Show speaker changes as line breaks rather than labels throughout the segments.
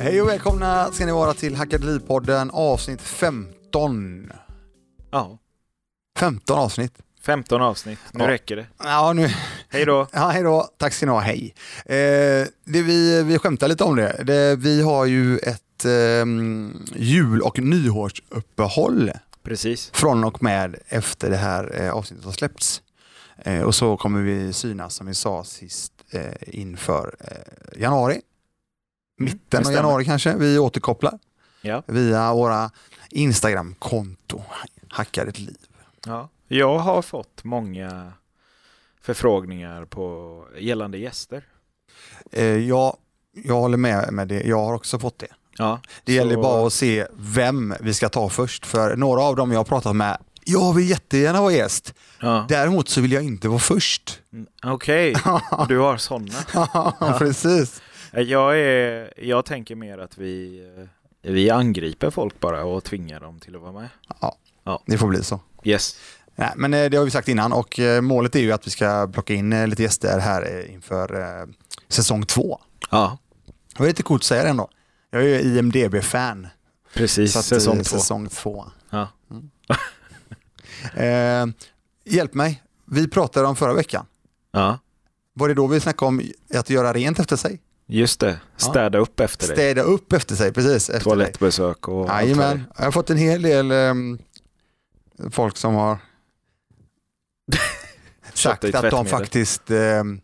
Hej och välkomna ska ni vara till Hackadelipodden avsnitt 15.
Ja,
15 avsnitt.
15 avsnitt. Nu
Ja.
räcker det.
Ja, nu,
Hej då.
ja, hej då. Tack ska ni ha, hej. Eh, det, vi, vi skämtar lite om det. det vi har ju ett eh, jul och nyårsuppehåll
Precis.
från och med efter det här eh, avsnittet har släppts. Eh, och så kommer vi synas, som vi sa sist, eh, inför eh, januari. Mitten av
Mm, stämmer.
januari kanske. Vi återkopplar
Ja.
via våra Instagram-konto. Hackar ett liv.
ja. Jag har fått många förfrågningar på gällande gäster.
Eh, jag, jag håller med med det. Jag har också fått det.
Ja.
Det gäller
Så-
bara att se vem vi ska ta först. För några av dem jag har pratat med, jag vill jättegärna vara gäst.
ja.
Däremot så vill jag inte vara först.
Mm, Okej, du har sådana.
ja, precis.
Jag, är, jag tänker mer att vi, eh, vi angriper folk bara och tvingar dem till att vara med.
Det får bli så.
Yes.
Nej, men eh, det har vi sagt innan och eh, målet är ju att vi ska plocka in eh, lite gäster här eh, inför eh, säsong två.
Ja,
Det var lite coolt att säga det ändå. Jag är ju IMDB-fan.
precis.
Så att,
Säsong
eh,
två.
Säsong två.
Ja.
Mm. eh, hjälp mig. Vi pratade om förra veckan.
Ja,
Var det då vi snackade om att göra rent efter sig?
just det. Städa upp efter dig.
Städa upp efter sig, precis. Efter dig.
Toalettbesök och allt vad det
Jajamän.
är.
Jag har fått en hel del ehm, folk som har sagt
dig
att de
tvättmedel.
faktiskt ehm,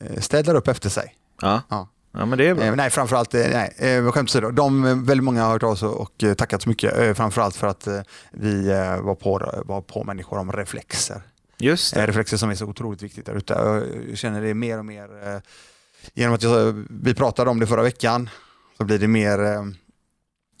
eh, städar upp efter sig.
Ja.
Ja.
ja, men det är bra.
Eh, nej, framförallt, eh, nej, eh, skämt åsido. De, eh, väldigt många har hört av sig och eh, tackat så mycket. Eh, framförallt för att eh, vi eh, var, på, var på människor om reflexer.
Just det.
Eh, reflexer som är så otroligt viktigt där ute. Jag känner det mer och mer, eh, genom att jag, vi pratade om det förra veckan, så blir det mer, eh,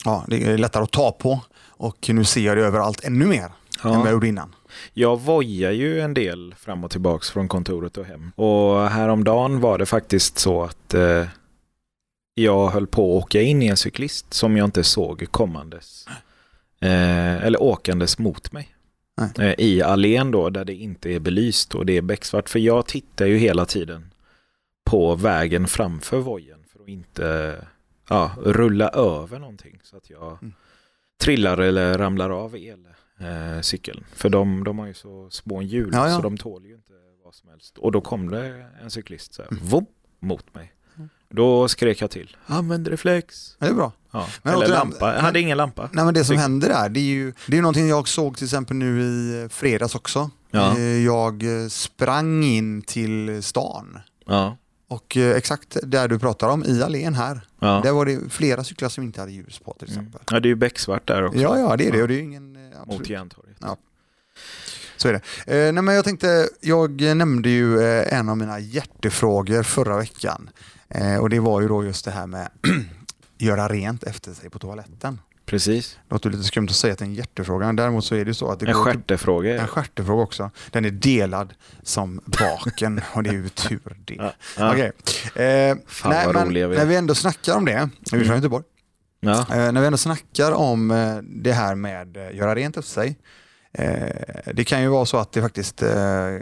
ja, det är lättare att ta på. Och nu ser jag det överallt ännu mer än vad jag
Ja.
gjorde innan.
Jag vojar ju en del fram och tillbaks från kontoret och hem. Och häromdagen var det faktiskt så att eh, jag höll på att åka in i en cyklist som jag inte såg kommandes. Eh, eller åkandes mot mig. Eh, I allén då, där det inte är belyst och det är becksvart. För jag tittar ju hela tiden på vägen framför vojen för att inte ja, rulla över någonting. Så att jag
Mm.
trillar eller ramlar av el, eh, cykeln. För de, de har ju så små hjul
Ja, ja.
så de tål ju inte vad som helst. Och då kom det en cyklist så här,
Mm.
vum, mot mig.
Mm.
Då skrek jag till, använd reflex.
Men det är bra.
Ja.
Men
Eller
återigen-
lampa, jag hade ingen lampa.
Nej, men Eh, det som
Tyck-
händer där, det är ju det är ju någonting jag såg till exempel nu i fredags också.
Ja.
Eh, Jag eh, sprang in till stan
Ja.
och eh, exakt där du pratar om, i allén här,
Ja.
där var det flera cyklar som inte hade ljus på till
Mm.
exempel.
ja, det är ju becksvart där också.
Ja, ja, det är det och det är ju ingen... eh, absolut.
Mot Järntorget.
Ja. Så är det. Eh, nej, men jag tänkte, jag nämnde ju eh, en av mina hjärtefrågor förra veckan. Eh, och det var ju då just det här med göra rent efter sig på toaletten.
Precis.
Det låter lite skumt att säga att det är en hjärtefråga. Däremot så är det ju så att det
En
går till-
stjärtefråga. är
en
det.
stjärtefråga också. Den är delad som baken och det är ju tur det.
Ja. Ja.
Okej. Eh,
Fan
nej,
vad
men
roliga vi är. Mm.
när vi ändå snackar om det, vi är från Göteborg,
Ja.
Eh, när vi ändå snackar om eh, det här med eh, göra rent efter sig. Eh, det kan ju vara så att det faktiskt eh,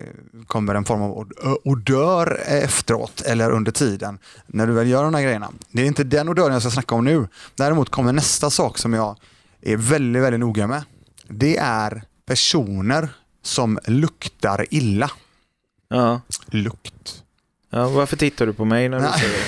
kommer en form av od- odör efteråt eller under tiden när du väl gör de här grejerna. Det är inte den odören jag ska snacka om nu. Däremot kommer nästa sak som jag är väldigt, väldigt noga med. Det är personer som luktar illa.
Ja.
Lukt.
ja, varför tittar du på mig när du
Nej.
säger det?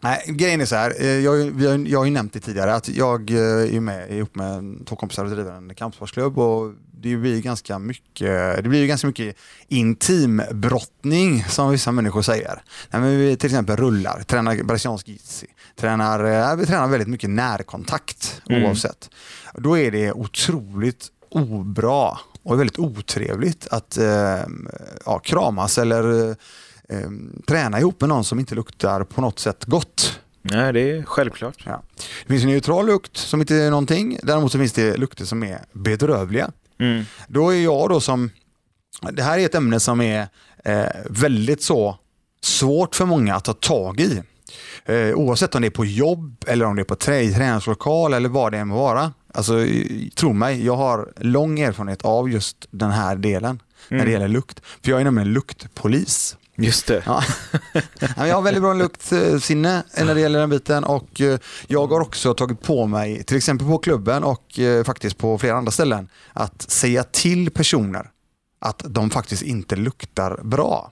Nej, grejen är så här, eh, jag, har ju- vi har, ju- jag har ju nämnt det tidigare att jag eh, är ju med är ihop med två kompisar och driver en kampsportsklubb och det blir ju ganska mycket, det blir ju ganska mycket intimbrottning som vissa människor säger. Nej, men vi till exempel rullar, tränar brasiliansk jitsi, tränar, eh, vi tränar väldigt mycket närkontakt
Mm.
oavsett. Då är det otroligt obra och väldigt otrevligt att eh, ja, kramas eller eh, eh, träna ihop med någon som inte luktar på något sätt gott.
Nej, det är självklart.
Det finns en neutral lukt som inte är någonting, däremot så finns det lukter som är bedrövliga.
Mm.
Då är jag då som, det här är ett ämne som är eh, väldigt så svårt för många att ta tag i. Eh, oavsett om det är på jobb eller om det är på trä- träningslokal eller vad det än må vara. Alltså, i- tro mig, jag har lång erfarenhet av just den här delen när det
Mm.
gäller lukt. För jag är nämligen luktpolis.
Just det.
Ja. Ja, men Jag har väldigt bra luktsinne eh, när det gäller den biten och eh, jag har också tagit på mig, till exempel på klubben och eh, faktiskt på flera andra ställen, att säga till personer att de faktiskt inte luktar bra.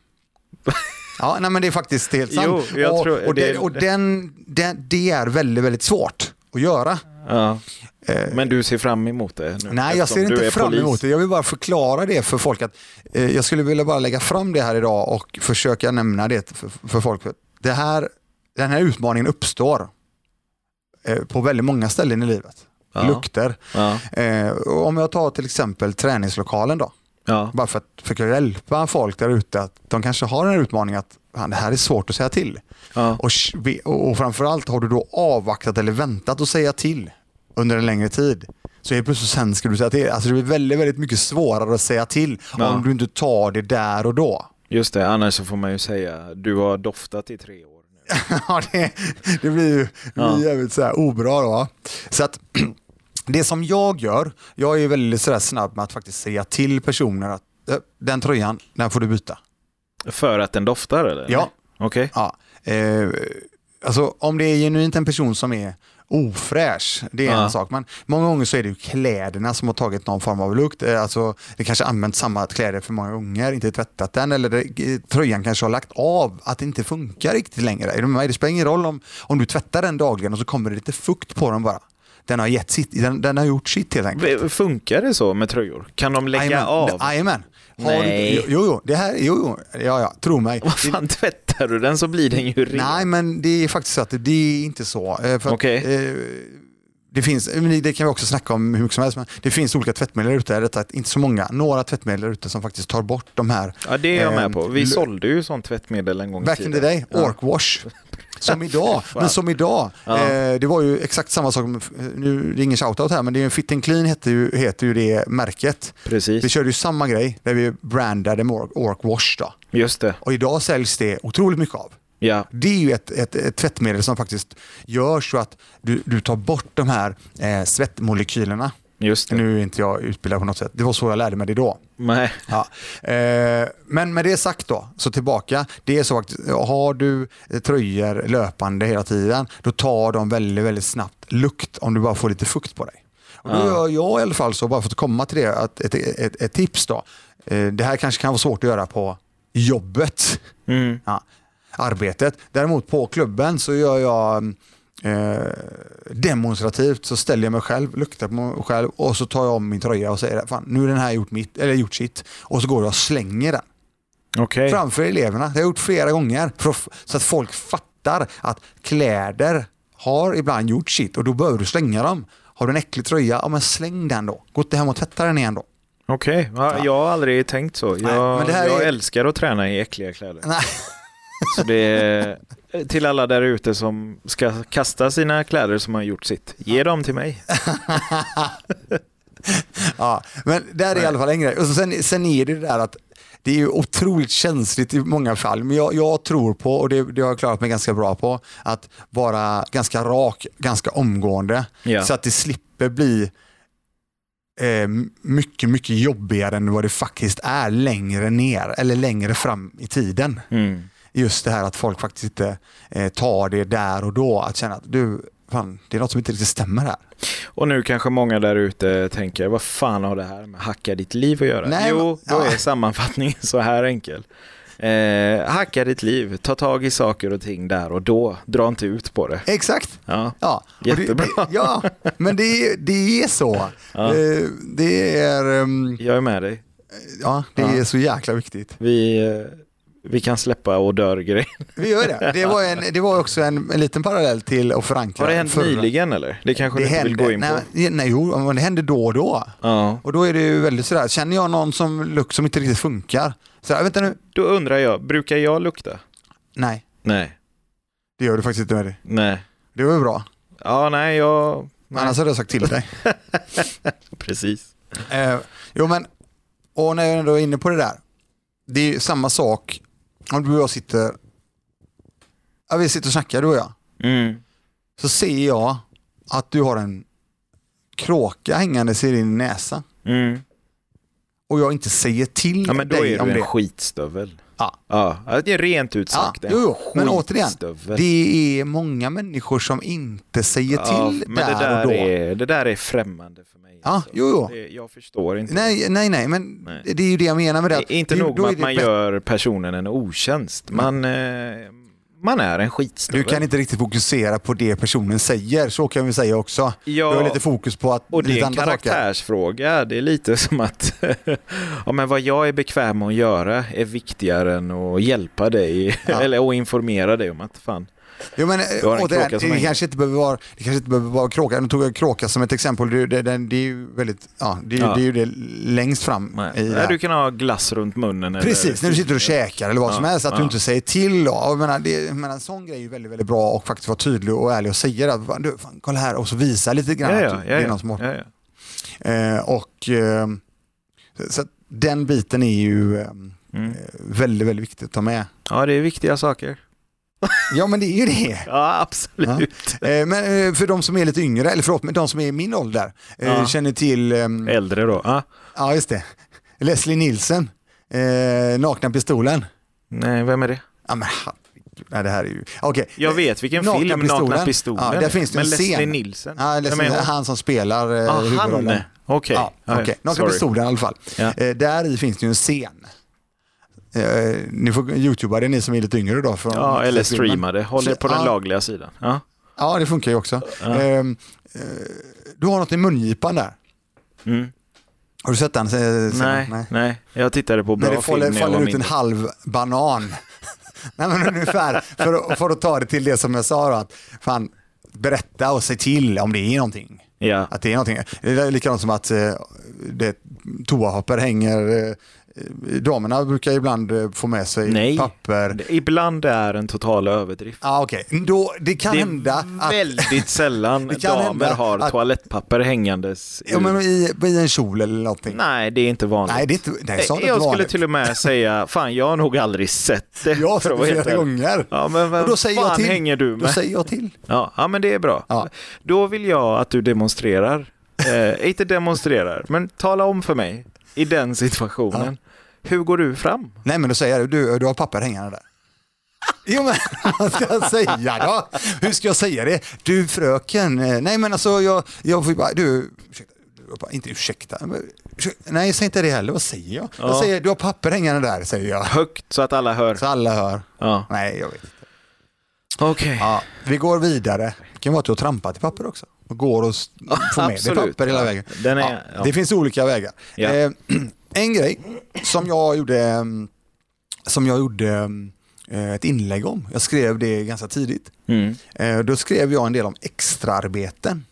Ja, nej, men det är faktiskt helt sant.
Jo, jag
och
tror-
och, det,
det-
och den, den, det är väldigt, väldigt svårt att göra.
Ja.
Eh,
Men du ser fram emot det? Nu,
Nej, jag
Mm. eftersom
ser
du
inte
är
fram
polis.
emot det. Jag vill bara förklara det för folk. att eh, Jag skulle vilja bara lägga fram det här idag och försöka nämna det för, för folk. För Det här, den här utmaningen uppstår eh, på väldigt många ställen i livet.
Ja.
Lukter.
Ja.
Eh, och om jag tar till exempel träningslokalen då.
Ja.
Bara för att försöka hjälpa folk där ute att de kanske har en utmaning att fan, det här är svårt att säga till.
Ja.
Och, sh- ve- och och framförallt har du då avvaktat eller väntat att säga till under en längre tid. Så helt plötsligt sen ska du säga till. Alltså det blir väldigt, väldigt mycket svårare att säga till
Ja.
om du inte tar det där och då.
Just det, annars så får man ju säga du har doftat i tre år. nu.
Ja, det, det blir ju det blir
Ja.
jävligt så här obra då. Så att det som jag gör, jag är ju väldigt så där snabb med att faktiskt säga till personer att "Eh, den tröjan, den får du byta.
För att den doftar eller?
Ja.
Okej.
Ja, eh, alltså om det är genuint en person som är ofräsch, det är
Ja.
en sak. Men många gånger så är det ju kläderna som har tagit någon form av lukt. Eh, Alltså, det kanske använt samma kläder för många gånger, inte tvättat den eller det, eh, tröjan kanske har lagt av, att det inte funkar riktigt längre. Är du med mig? Det spelar ingen roll om, om du tvättar den dagligen och så kommer det lite fukt på den bara. Den har, gett sitt, den, den har gjort sitt helt enkelt.
V- Funkar det så med tröjor? Kan de lägga
Jajamän.
av?
Jajamän. Har du-
Nej.
Jo, jo, det här, jo, jo, ja, ja, tro mig.
Vad
Det-
fan, tvättar du den så blir den ju ren.
Nej, men det är faktiskt så att det är inte så. Eh, För att,
Okej.
eh, det finns, eh, men det kan vi också snacka om hur mycket som helst, men det finns olika tvättmedel ute, eller rättare, inte så många, några tvättmedel ute som faktiskt tar bort de här.
Ja, det är jag
Ehm,
med på. Vi
lu-
sålde ju sånt tvättmedel en gång i
Back in the
tiden.
day,
Ja.
orkwash. Som idag,
Fan.
men som idag.
Ja.
Eh, det var ju exakt samma sak, med- nu, det är ingen shoutout här, men det är ju Fit and Clean heter ju, heter ju det märket. Vi
Precis,
körde ju samma grej, där vi brandade med ork- orkwash då.
just det.
Och idag säljs det otroligt mycket av.
Ja.
Det är ju ett, ett, ett tvättmedel som faktiskt gör så att du, du tar bort de här eh, svettmolekylerna.
Just det.
Nu är inte jag utbildad på något sätt. Det var så jag lärde mig det då.
Nej.
Ja. Eh, men med det sagt då, så tillbaka. Det är så att har du eh, tröjor löpande hela tiden, då tar de väldigt, väldigt snabbt lukt om du bara får lite fukt på dig. Och då
Ja.
gör jag i alla fall så, bara för att komma till det, att ett, ett, ett tips då. Eh, det här kanske kan vara svårt att göra på jobbet
Mm.
ja, arbetet. Däremot på klubben så gör jag eh, demonstrativt så ställer jag mig själv, luktar på mig själv och så tar jag om min tröja och säger Fan, nu är den här gjort, mitt, eller gjort sitt. Och så går jag och slänger den
Okej.
framför eleverna. Det har jag gjort flera gånger för att, f- så att folk fattar att kläder har ibland gjort sitt och då behöver du slänga dem. Har du en äcklig tröja, ja men släng den då. Gå inte hem och tvätta den igen då.
Okej. Ja, jag har aldrig tänkt så. Jag,
men det här
jag
är-
älskar att träna i äckliga kläder.
Nej.
Så det är till alla där ute som ska kasta sina kläder som har gjort sitt. Ge dem till mig.
Ja, men där är i alla fall en grej. Och så sen, sen är det det där att det är ju otroligt känsligt i många fall, men jag, jag tror på, och det, det har jag klarat mig ganska bra på, att vara ganska rak, ganska omgående,
Ja.
så att det slipper bli eh, mycket, mycket jobbigare än vad det faktiskt är längre ner eller längre fram i tiden.
Mm.
Just det här att folk faktiskt inte eh, tar det där och då, att känna att du, fan, det är något som inte riktigt stämmer här.
Och nu kanske många där ute tänker, vad fan har det här med hacka ditt liv att göra?
Nej,
jo,
men-
då
ja.
är sammanfattningen så här enkel. Eh, hacka ditt liv, ta tag i saker och ting där och då, dra inte ut på det.
Exakt!
Ja,
Ja, och det-
Jättebra.
Det, ja, men det, det är så. Eh, Det är, ehm,
jag är med dig.
ja, det
Ja.
är så jäkla viktigt.
Vi, eh, vi kan släppa och dör-grejen.
Vi gör det. Det var, en, det var också en, en liten parallell till att förankra.
Har det hänt
förra-
nyligen eller? Det kanske
Det
du inte
hände,
vill gå in på?
nej, nej, jo, men det händer då och då.
Ja.
Och då är det ju väldigt sådär, känner jag någon som lukt som inte riktigt funkar, sådär, vänta nu,
Då undrar jag, brukar jag lukta?
nej,
Nej.
det gör du faktiskt inte med det.
Nej.
Det var ju bra,
Ja, nej, jag... Nej.
annars hade jag sagt till dig.
Precis.
Eh, jo men, och när jag ändå är inne på det där. Det är ju samma sak om du och jag sitter, ja, vi sitter och snackar du och jag.
Mm.
Så ser jag att du har en kråka hängandes i din näsa
Mm.
och jag inte säger till
Ja, men då
dig
är
om
du en
det.
skitstövel.
Ja.
Ja, det är rent ut
Ja,
sagt en
jo, jo, men återigen,
skitstövel.
det är många människor som inte säger
Ja,
till
men
där,
det där
och då.
Är, det där är främmande för mig. alltså.
Ja, jo, jo.
Det, jag förstår inte.
Nej, nej, nej, men
Nej.
det är ju det jag menar med det. att
Det är inte
det,
nog
då
med
är
att
det
man
bäst- Mm.
gör personen en otjänst. Man, eh, man är en
Du
skitstövel.
kan inte riktigt fokusera på det personen säger, så kan vi säga också. Du har
ja,
lite fokus på att
och det
lite
är en
andra saker.
karaktärsfråga. Det är lite som att ja, men vad jag är bekväm med att göra är viktigare än att hjälpa dig
Ja.
eller att informera dig om att fan.
Jo, men,
Du har en
återigen,
kråka som
det,
hänger.
kanske inte behöver vara, det kanske inte behöver vara kråka. Nu tog jag kråka som ett exempel. Det, det, det, det är ju väldigt, ja, det, är ju-
Ja.
det är ju det längst fram
Nej.
i det här.
du kan ha glass runt munnen.
Precis, när du sitter och käkar eller vad
Ja,
som helst, att du
ja.
inte säger till. Då. Och Jag menar, det, jag menar, en sån grej är ju väldigt, väldigt bra och faktiskt vara tydlig och ärlig och säga att fan, du, fan, kolla här och så visa lite grann
Ja,
att
ja,
du-
ja,
det är
ja,
någon som har...
ja, ja.
eh, och, eh, så- så att den biten är ju eh,
Mm.
väldigt, väldigt viktigt att ta med.
ja, det är viktiga saker.
Ja, men det är ju det.
Ja, absolut.
Eh, Men eh, för de som är lite yngre, eller förlåt, men de som är i min ålder, eh,
Ja.
känner till, ehm,
Äldre då? Ah,
ja just det, Leslie Nielsen, eh, Nakna pistolen.
nej, vem är det?
Ja men herregud, nej, det här är ju, okej.
Jag vet vilken
Nakna
film,
pistolen.
Nakna pistolen.
Ja, där finns det
Men
en scen.
Leslie Nielsen?
Ja,
Vem
Leslie,
är hon?
han som spelar eh,
ah, han?
huvudrollen.
Okej. Okay.
Ja, okej. Nakna pistolen i alla fall.
Ja.
Eh, där i finns det ju en scen. Eh, ni får youtuba det, ni som är lite yngre då. Från
Ja, eller streama det. Håll
Så-
det på den
ja.
lagliga sidan. Ja.
Ja, det funkar ju också.
Ja.
Ehm, Eh, du har något i mungipan där.
Mm.
Har du sett den? eh, scenen?
Nej, nej, Jag tittade på bra
När det
film
faller,
när jag var
faller ut en
mindre.
halv banan. Nej men ungefär, för, att- för att ta det till det som jag sa då, att fan, berätta och se till om det är någonting.
Ja.
Att det är någonting. Det är likadant som att eh, det, toapapper hänger, eh, damerna brukar ibland eh, få med sig
Nej.
papper.
Det- Ibland är en total överdrift.
Ja ah, okej, Då- det kan
det är
hända att
väldigt sällan
Det kan
damer
hända
har
att-
toalettpapper hängandes.
ja,
ur-
men i, i en kjol eller någonting.
Nej, det är inte vanligt. Eh,
Nej, det är inte, nej, sånt är
jag
inte
skulle
vanligt.
till och med säga, fan jag har nog aldrig sett det.
Jag har
för
sett
att vara
det
helt
flera
ärlig.
gånger.
Ja, men vem
Och då säger
fan
jag till.
hänger du
Då
med?
säger jag till.
Ja, ja, men det är bra.
Ja.
Då vill jag att du demonstrerar. Eh, inte demonstrerar, men tala om för mig i den situationen. Hur går du fram?
Nej men då säger jag du, du har papper hängande där. Jo men vad ska jag säga då? Hur ska jag säga det? Du fröken, eh, nej men alltså jag, jag får ju bara, du, ursäkta, du har bara, inte ursäkta, men, ursäkta, nej säg inte det heller, vad säger jag? Jag
Ja.
säger du har papper hängande där, säger jag.
Högt så att alla hör.
Så alla hör.
Ja.
Nej jag vet inte.
Okej.
Ja, vi går vidare. Det kan vara att du har trampat i papper också. Och går och s- får med dig
absolut.
papper hela vägen.
Den
Ja,
är, ja.
Det finns olika vägar.
Ja.
Eh, en grej som jag gjorde, mm, som jag gjorde mm, eh, ett inlägg om, jag skrev det ganska tidigt.
Mm.
Eh, Då skrev jag en del om extraarbeten,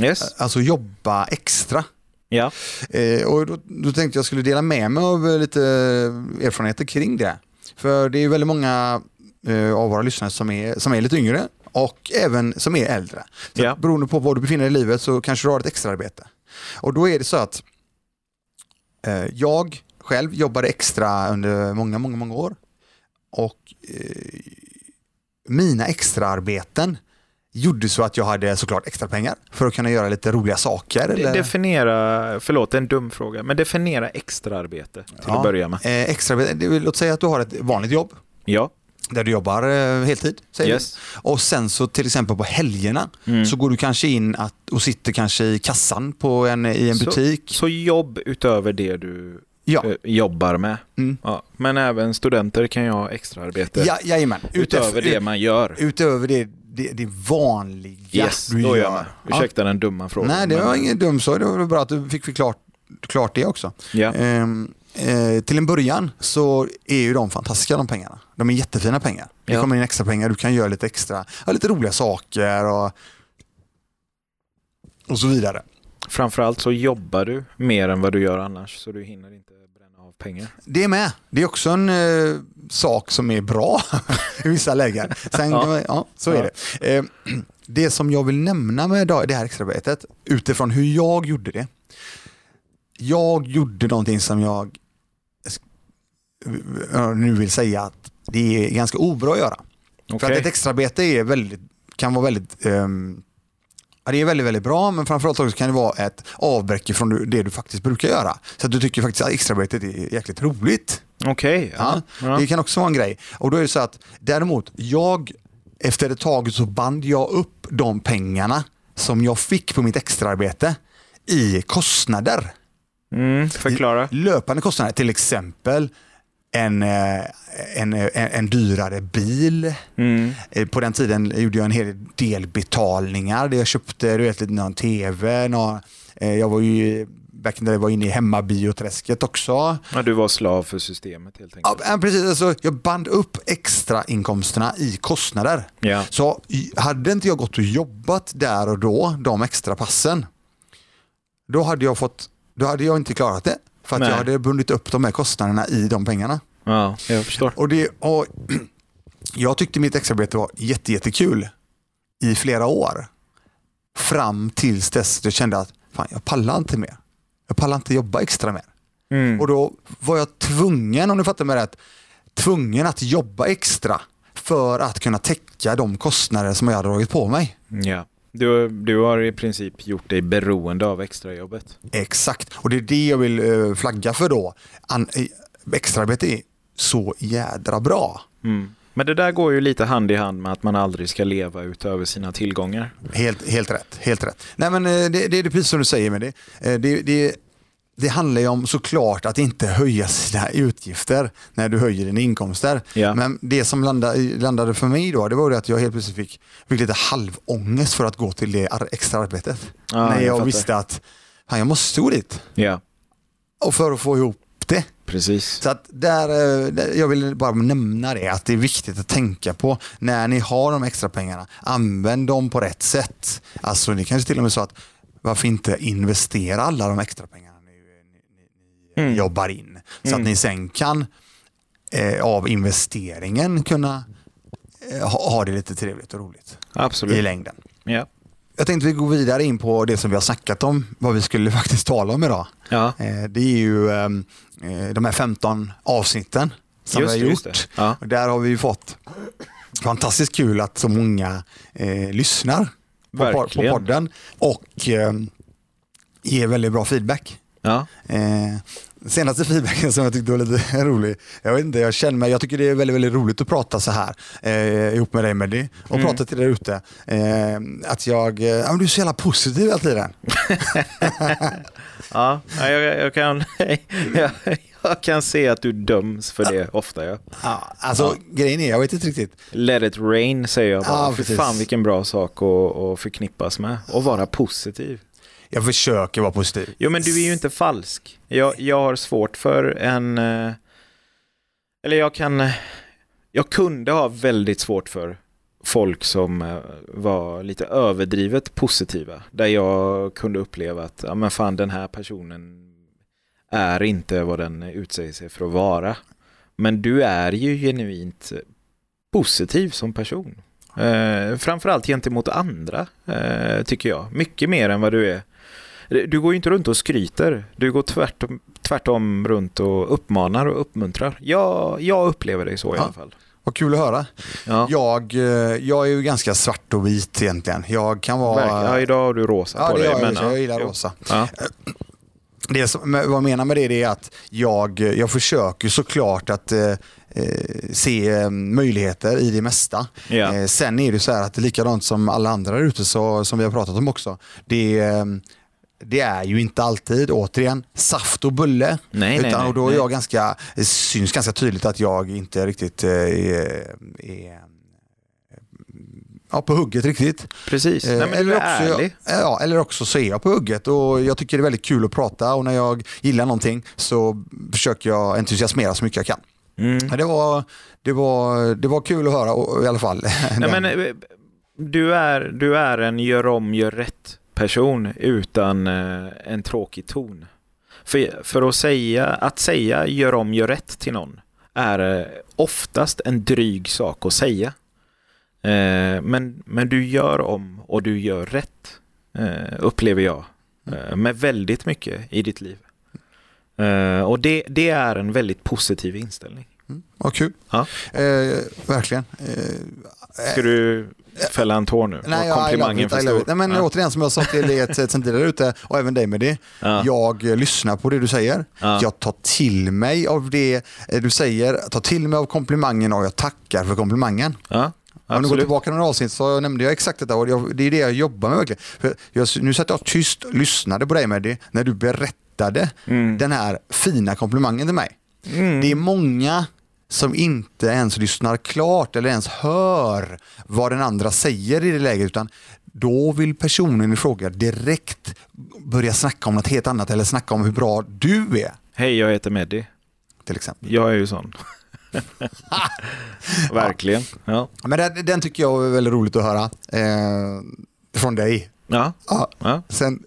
Yes.
alltså jobba extra.
Ja.
Eh, Och då, då tänkte jag skulle dela med mig av eh, lite eh, erfarenheter kring det. För det är ju väldigt många eh, av våra lyssnare som är, som är lite yngre och även som är äldre. Så
Ja.
att beroende på var du befinner dig i livet så kanske du har ett extraarbete. Och då är det så att eh, jag själv jobbade extra under många, många, många år. Och eh, mina extraarbeten gjorde så att jag hade såklart extra pengar för att kunna göra lite roliga saker.
De-
eller-
Definiera, förlåt en dum fråga, men definiera extraarbete till
Ja.
att börja med.
Eh, extra, det vill, låt säga att du har ett vanligt jobb
Ja.
där du jobbar eh, heltid. Säger vi.
Yes.
Och sen så till exempel på helgerna
Mm.
så går du kanske in att, och sitter kanske i kassan på en, i en
Så-
butik.
Så jobb utöver det du
ja.
eh, jobbar med.
Mm.
Ja. Men även studenter kan ju ha extraarbete
Ja, jajamän.
utöver det man gör.
utöver det, det, det vanliga
Yes,
du
då
gör.
är jag med. Ursäkta den dumma
Ja.
frågan.
Nej, det
men-
var ingen dum så. Det var väl bra att du fick förklart klart det också.
Ja.
Ehm, eh, till en början så är ju de fantastiska de pengarna. De är jättefina pengar. Det
Ja.
kommer in extra pengar, du kan göra lite extra, ja, lite roliga saker och, och så vidare.
Framförallt så jobbar du mer än vad du gör annars, så du hinner inte bränna av pengar.
Det är med. Det är också en eh, sak som är bra i vissa lägen. Sen, ja.
Ja.
så är
Ja.
det. Eh, det som jag vill nämna med da- det här extraarbetet, utifrån hur jag gjorde det. Jag gjorde någonting som jag eh, nu vill säga att det är ganska obra att göra. För att
Okej.
ett extraarbete är väldigt, kan vara väldigt ehm, ja, det är väldigt, väldigt bra, men framförallt också kan det vara ett avbräck från det du faktiskt brukar göra. Så att du tycker faktiskt att extraarbetet är jäkligt roligt.
Okej. ja, ja.
Det kan också vara en grej. Och då är det så att däremot, jag efter ett tag så band jag upp de pengarna som jag fick på mitt extraarbete i kostnader.
Mm, förklara.
Löpande kostnader, till exempel en, eh, en, en, en dyrare bil.
Mm.
Eh, På den tiden gjorde jag en hel del betalningar. Jag köpte du vet, lite någon tv, någon, eh, jag var ju back in the day, var inne i hemmabioträsket också.
Ja, du var slav för systemet helt
Ja,
enkelt.
men precis, alltså, jag band upp extra inkomsterna i kostnader.
Ja.
Så i- hade inte jag gått och jobbat där och då, de extra passen, då hade jag, fått, då hade jag inte klarat det. För att
Nej.
jag hade bundit upp de här kostnaderna i de pengarna.
ja, jag förstår.
Och det, och jag tyckte mitt extraarbete var jätte, jättekul i flera år. Fram tills dess jag kände att fan, jag pallar inte mer. Jag pallar inte jobba extra mer.
Mm.
Och då var jag tvungen, om du fattar mig rätt, tvungen att jobba extra för att kunna täcka de kostnader som jag hade dragit på mig.
Ja. Du, du har i princip gjort dig beroende av extrajobbet.
Exakt, och det är det jag vill eh, flagga för då. An- eh, extraarbete är så jädra bra.
Mm. Men det där går ju lite hand i hand med att man aldrig ska leva utöver sina tillgångar.
Helt, helt rätt. Helt rätt. Nej, men eh, det, det är det precis som du säger med det. Eh, Det, det, det handlar ju om såklart att inte höja sina utgifter när du höjer dina inkomster.
Ja.
Men det som landade, landade för mig då, det var ju att jag helt plötsligt fick, fick lite halvångest för att gå till det ar- extra arbetet.
Ja,
när jag,
fattar.
visste att fan, jag måste gå dit
Ja,
och för att få ihop det.
precis.
Så att där, eh, där, jag vill bara nämna det, att det är viktigt att tänka på när ni har de extra pengarna, använd dem på rätt sätt. Alltså ni kanske till och med sa att varför inte investera alla de extra pengarna ni, ni, ni, ni
Mm.
jobbar in? Så
Mm.
att ni sen kan eh, av investeringen kunna eh, ha, ha det lite trevligt och roligt i
Absolut.
längden.
Ja.
Jag tänkte vi går vidare in på det som vi har snackat om, vad vi skulle faktiskt tala om idag.
Ja.
Eh, Det är ju ehm, eh, de här 15 avsnitten som
Just
vi
det,
har
just
gjort.
det. Ja.
Och där har vi ju fått fantastiskt kul att så många eh, lyssnar på, po- på
Verkligen.
podden och ehm, ger väldigt bra feedback.
Ja.
Eh, senaste feedbacken som jag tyckte var lite rolig, jag vet inte, jag känner mig, jag tycker det är väldigt, väldigt roligt att prata så här eh, ihop med dig Meddy och
Mm.
prata till dig där ute. Eh, att jag, eh, ja, men du är så jävla positiv hela tiden.
Ja, ja, jag, jag, kan, jag, jag kan se att du döms för det ofta. Ja.
Ja, alltså grejen är, jag vet inte riktigt,
Let it rain säger jag bara.
Ja,
För
precis.
fan vilken bra sak att, att förknippas med. Och vara positiv.
Jag försöker vara positiv.
Jo, men du är ju inte falsk. Jag, jag har svårt för en... eh, Eller jag kan... eh, Jag kunde ha väldigt svårt för folk som eh, var lite överdrivet positiva. Där jag kunde uppleva att, ja men fan den här personen är inte vad den utsäger sig för att vara. Men du är ju genuint positiv som person. Eh, framförallt gentemot andra, eh, tycker jag. Mycket mer än vad du är du går ju inte runt och skryter. Du går tvärtom, tvärtom runt och uppmanar och uppmuntrar. Jag, jag upplever dig så i
Ja.
alla fall.
Vad kul att höra.
Ja,
Jag, eh, jag är ju ganska svart och vit egentligen. Jag kan vara...
verkligen. ja, idag har du rosa
Ja,
på
det
dig.
gör jag, i och
men,
för sig. jag
ja.
gillar
Jo.
rosa.
Ja.
Det som, men vad jag menar med det, det är att jag, jag försöker såklart att eh, eh, se eh, möjligheter i det mesta.
Ja.
Eh, sen är det så här att likadant som alla andra där ute så, som vi har pratat om också, det, eh, det är ju inte alltid, återigen, saft och bulle.
Nej, nej,
utan,
nej,
och då är
nej.
jag ganska, syns ganska tydligt att jag inte riktigt eh, är, är ja, på hugget riktigt.
Precis. Nej, men du
Eh,
är
också,
ärlig.
ja, eller också så är jag på hugget och jag tycker det är väldigt kul att prata och när jag gillar någonting så försöker jag entusiasmera så mycket jag kan.
Mm.
Men Det var, det var, det var kul att höra och, i alla fall.
Nej, men, eh, du, är, du är en gör om, gör rätt person utan eh, en tråkig ton. För, för att, säga, att säga gör om, gör rätt till någon är eh, oftast en dryg sak att säga. Eh, men, men du gör om och du gör rätt, eh, upplever jag. Eh, med väldigt mycket i ditt liv. Eh, och det, det är en väldigt positiv inställning.
Mm, vad kul.
Ja.
Eh, verkligen. Eh,
Ska du fälla en tår nu?
Nej,
Var
ja, I love
komplimangen
it,
för
I love
stor?
it. Nej, men
ja.
återigen som jag sa till dig sen tidigare ute och även dig med det.
Ja.
Jag eh, lyssnar på det du säger.
Ja.
Jag tar till mig av det eh, du säger. Tar till mig av komplimangen och jag tackar för komplimangen.
Ja,
Om du går
absolut.
tillbaka några avsnitt så nämnde jag exakt detta och jag, det är det jag jobbar med verkligen. För jag, nu satt jag tyst och lyssnade på dig med det när du berättade
Mm.
den här fina komplimangen till mig.
Mm.
Det är många som inte ens lyssnar klart eller ens hör vad den andra säger i det läget utan då vill personen i fråga direkt börja snacka om något helt annat eller snacka om hur bra du är
Hej, jag heter Meddi.
till exempel.
Jag är ju sån. Verkligen. Ja.
Men den, den tycker jag är väldigt roligt att höra eh, från dig.
Ja.
Ja,
Ja.
sen,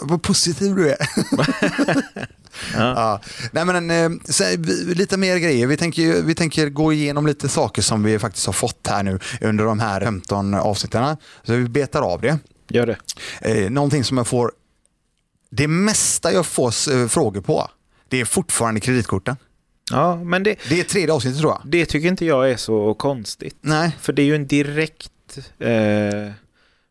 vad positiv du är.
Ja.
Ja. Nej, men, eh, sen, vi- lite mer grejer. Vi tänker, ju- vi tänker gå igenom lite saker som vi faktiskt har fått här nu under de här 15 avsnitten. Så vi betar av det.
Gör det.
Eh, någonting som jag får, det mesta jag får eh, frågor på, det är fortfarande kreditkorten.
Ja, men det,
Det är tredje avsnittet tror jag.
det tycker inte jag är så konstigt.
Nej,
För det är ju en direkt... Eh,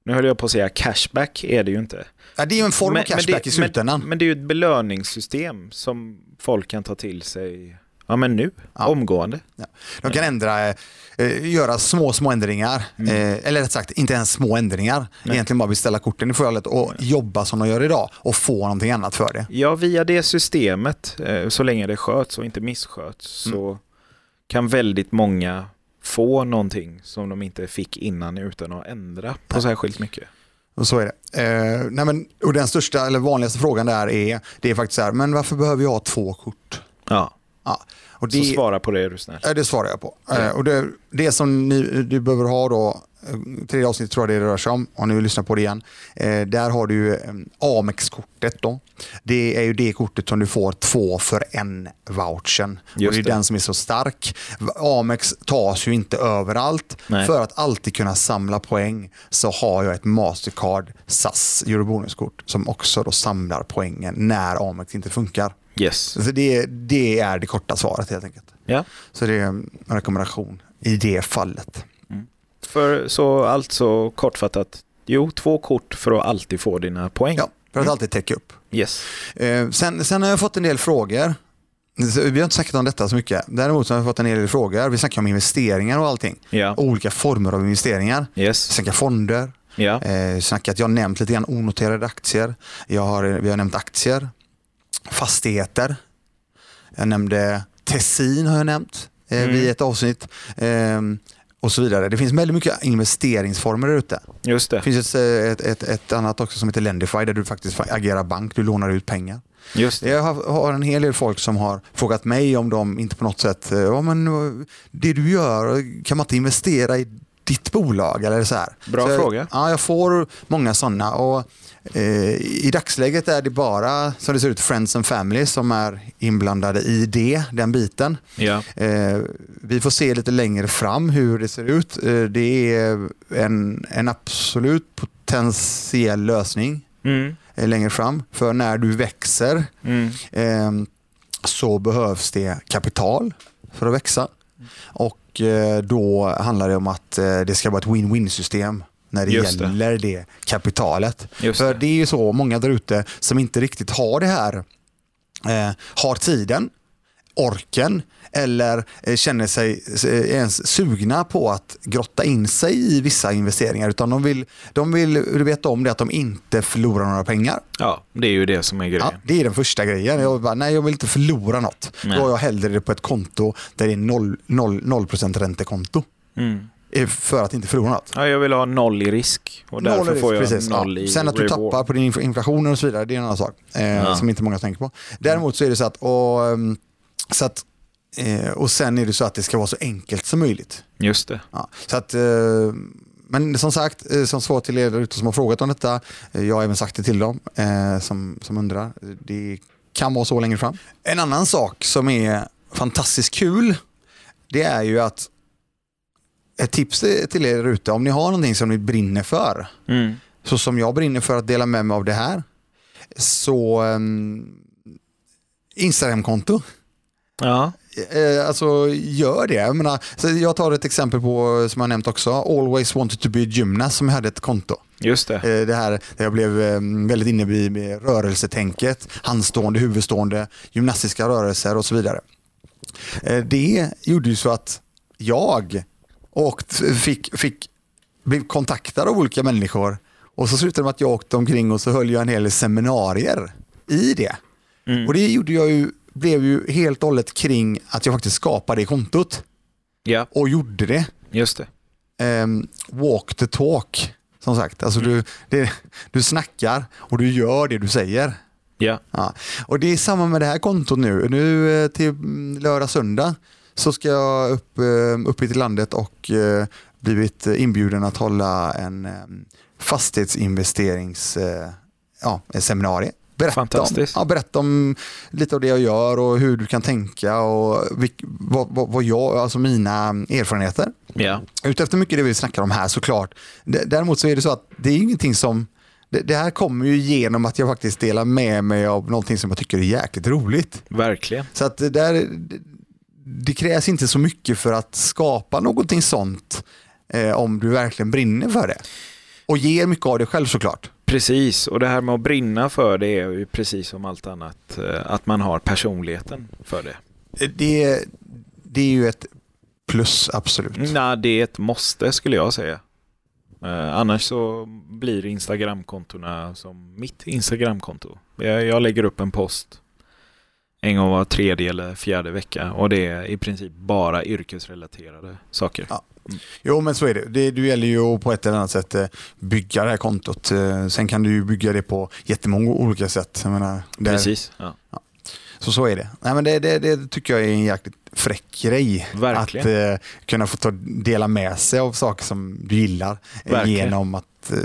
nu höll jag på att säga cashback, är det ju inte.
ja, det är ju en form av cashback
det,
i slutändan.
Men, men det är ju ett belöningssystem som folk kan ta till sig ja, men nu,
Ja.
omgående.
Ja. De kan ändra, eh, eh, göra små, små ändringar.
Mm.
Eh, eller rätt sagt, inte ens små ändringar. Egentligen bara beställa korten i förhållandet och jobba som de gör idag och få någonting annat för det.
Ja, via det systemet, eh, så länge det sköts och inte missköts, så kan väldigt många få någonting som de inte fick innan utan att ändra på särskilt mycket.
Och så är det. Eh, nej men, och den största eller vanligaste frågan där är, det är faktiskt så här, men varför behöver jag ha två kort?
Ja,
Ja. Och
så
det,
svara på det är du snäll.
eh, det svarar jag på. Eh, och det, det som ni, du behöver ha då, eh, tredje avsnitt tror jag det rör sig om, om ni vill lyssna på det igen. Eh, där har du ju, eh, Amex-kortet då. Det är ju det kortet som du får två för en vouchen.
Just
och det är
det.
den som är så stark. Amex tas ju inte överallt.
Nej.
För att alltid kunna samla poäng så har jag ett Mastercard SAS Eurobonuskort som också då samlar poängen när Amex inte funkar.
Yes.
Så det, det är det korta svaret helt enkelt.
Ja.
Så det är en rekommendation i det
Mm.
fallet.
För så alltså kortfattat, jo, två kort för att alltid få dina poäng.
Ja, för att alltid täcka upp.
Yes.
Eh, sen, sen har jag fått en del frågor. Så Vi har inte snackat om detta så mycket. Däremot så har jag fått en hel del frågor. Vi snackar om investeringar och allting.
Ja.
Olika former av investeringar. Vi
Yes.
snackar fonder,
Ja.
Eh, snackat, jag har nämnt lite grann onoterade aktier. Jag har, vi har nämnt aktier, fastigheter. Jag nämnde Tessin har jag nämnt eh,
Mm.
vid ett avsnitt. Eh, och så vidare. Det finns väldigt mycket investeringsformer där ute.
Just
Det
det.
finns ett, eh, ett, ett, ett annat också som heter Lendify där du faktiskt agerar bank, du lånar ut pengar.
Just det.
Jag har, har en hel del folk som har frågat mig om de inte på något sätt, eh, ja, men, eh, det du gör, kan man inte investera i ditt bolag? Eller så här.
Bra
så jag,
fråga.
Ja, jag får många sådana. Och, eh, I dagsläget är det bara, som det ser ut, friends and family som är inblandade i det, den biten.
Ja.
Eh, vi får se lite längre fram hur det ser ut. Eh, det är en, en absolut potentiell lösning
Mm.
eh, längre fram. För när du växer
Mm.
eh, så behövs det kapital för att växa. Och eh, då handlar det om att eh, det ska vara ett win-win system när det
Just det.
gäller det, kapitalet.
Just
För
det.
det är ju så många där ute som inte riktigt har det här, eh, har tiden, orken eller eh, känner sig eh, ens sugna på att grotta in sig i vissa investeringar. Utan de vill, de vill veta om det att de inte förlorar några pengar.
Ja, det är ju det som är grejen.
Ja, det är den första grejen. Jag bara, nej jag vill inte förlora något.
Nej.
Då har jag hellre det på ett konto där det är 0, 0, 0% räntekonto.
Mm.
Eh, För att inte förlora något.
Ja, jag vill ha noll i risk och därför
Noll är det,
får jag
precis,
noll
ja.
i
Sen att du
reward.
tappar på din inf- inflationen och så vidare, det är en annan sak eh,
Ja.
som inte många tänker på. Däremot så är det så att, och, ehm, så att eh, och sen är det så att det ska vara så enkelt som möjligt.
Just det.
Ja, så att, eh, men som sagt, eh, som svar till er där ute som har frågat om detta, eh, jag har även sagt det till dem eh, som, som undrar. Det kan vara så längre fram. En annan sak som är fantastiskt kul, det är ju att ett tips till er där ute, om ni har någonting som ni brinner för,
Mm.
så som jag brinner för att dela med mig av det här, så eh, Instagramkonto.
Ja,
eh, alltså, gör det. Jag, menar, så jag tar ett exempel på, som jag nämnt också, Always wanted to be a gymnast som hade ett konto.
Just det.
Eh, Det här där jag blev eh, väldigt inne i med rörelsetänket, handstående, huvudstående, gymnastiska rörelser och så vidare. Eh, Det gjorde ju så att jag och fick, fick, blev kontaktad av olika människor och så slutade det med att jag åkte omkring och så höll jag en hel del seminarier i det. Och det gjorde jag ju, blev ju helt och hållet kring att jag faktiskt skapade det kontot
Ja,
och gjorde det
just det.
ehm, walk the talk. Som sagt, alltså du, det, du snackar och du gör det du säger.
Ja,
Ja. Och det är samma med det här kontot nu. Nu eh, till mm, lördag, söndag så ska jag upp, eh, upp hit till landet och eh, blivit eh, inbjuden att hålla en eh, fastighetsinvesterings eh, ja, ett seminarium. Berätta
Fantastiskt.
Om, ja, berätta om lite av det jag gör och hur du kan tänka och vilk, vad, vad, vad jag, alltså mina erfarenheter.
ja.
Utefter mycket det vi snackar om här såklart. D- Däremot så är det så att det är ingenting som... Det, det här kommer ju genom att jag faktiskt delar med mig av någonting som jag tycker är jäkligt roligt.
verkligen.
Så att det, där, det, det krävs inte så mycket för att skapa någonting sånt eh, om du verkligen brinner för det. Och ger mycket av dig själv såklart.
Precis, och det här med att brinna för det är ju precis som allt annat, eh, att man har personligheten för det.
Eh, Det, det är ju ett plus absolut.
Nej, det är ett måste skulle jag säga. Eh, annars så blir Instagramkontona som mitt Instagramkonto. Jag, jag lägger upp en post en gång var tredje eller fjärde vecka och det är i princip bara yrkesrelaterade saker.
Ja. Jo, men så är det. det. Du gäller ju att på ett eller annat sätt eh, bygga det här kontot. Eh, Sen kan du ju bygga det på jättemånga olika sätt. Jag menar, där-
Precis. Ja.
Så så är det. Nej, men det, det. Det tycker jag är en jäkligt fräck grej.
Verkligen.
Att eh, kunna få ta, dela med sig av saker som du gillar eh,
Verkligen.
genom att, eh,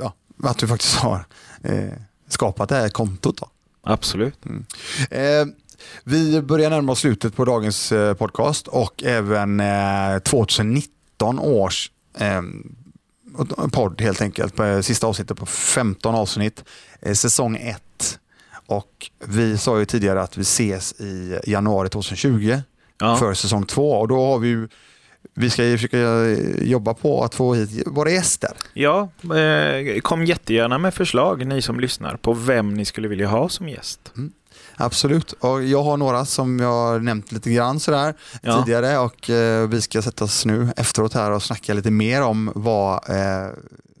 ja, att du faktiskt har eh, skapat det här kontot. Då.
Absolut.
Eh, vi börjar närma oss slutet på dagens eh, podcast och även eh, 2019 års eh, podd helt enkelt. Eh, Sista avsnittet på 15 avsnitt, eh, säsong 1. Och vi sa ju tidigare att vi ses i januari 2020
Ja.
för säsong 2 och då har vi ju vi ska ju försöka eh, jobba på att få hit våra gäster.
Ja, eh, kom jättegärna med förslag, ni som lyssnar, på vem ni skulle vilja ha som gäst.
Absolut. Och jag har några som jag har nämnt lite grann sådär.
Ja,
tidigare och eh, vi ska sätta oss nu efteråt här och snacka lite mer om vad, eh,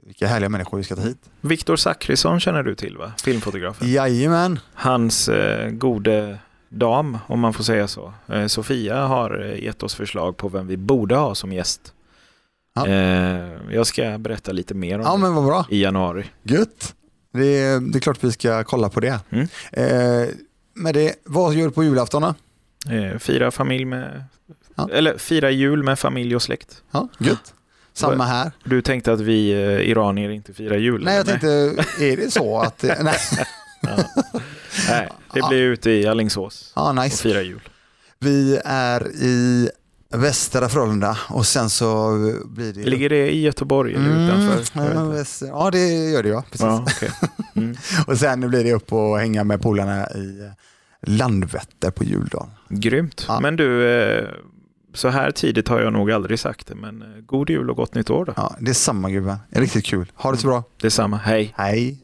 vilka härliga människor vi ska ta hit.
Viktor Zachrisson känner du till, va? filmfotografen.
Jajamän,
Hans eh, gode dam, om man får säga så, eh, Sofia har eh, gett oss förslag på vem vi borde ha som gäst.
Ja.
Eh, jag ska berätta lite mer om
ja men vad bra.
det i januari.
Gött. Det är, det är klart vi ska kolla på det.
Mm.
Eh, med det, vad gör du på julafton då?
Eh, fira familj med,
Ja.
eller fira jul med familj och släkt.
Ja, gött. Samma här.
Du tänkte att vi eh, iranier inte firar jul?
Nej, jag
eller?
tänkte, är det så att... eh, Nej,
Nej, det blir ute i Alingsås
ja,
och
nice.
fira jul.
Vi är i Västra Frölunda och sen så blir det...
Ligger det i Göteborg eller utanför? Jag vet
Mm,
inte.
väster- ja, det gör det ja. Precis.
Ja, okej. mm.
Och sen blir det upp och hänga med polarna i eh, Landvetter på juldagen.
Grymt.
Ja.
Men du, eh, så här tidigt har jag nog aldrig sagt det, men eh, god jul och gott nytt år då.
Ja, det är samma gubben. Det är Riktigt kul. Ha det så bra.
Detsamma, hej.
Hej.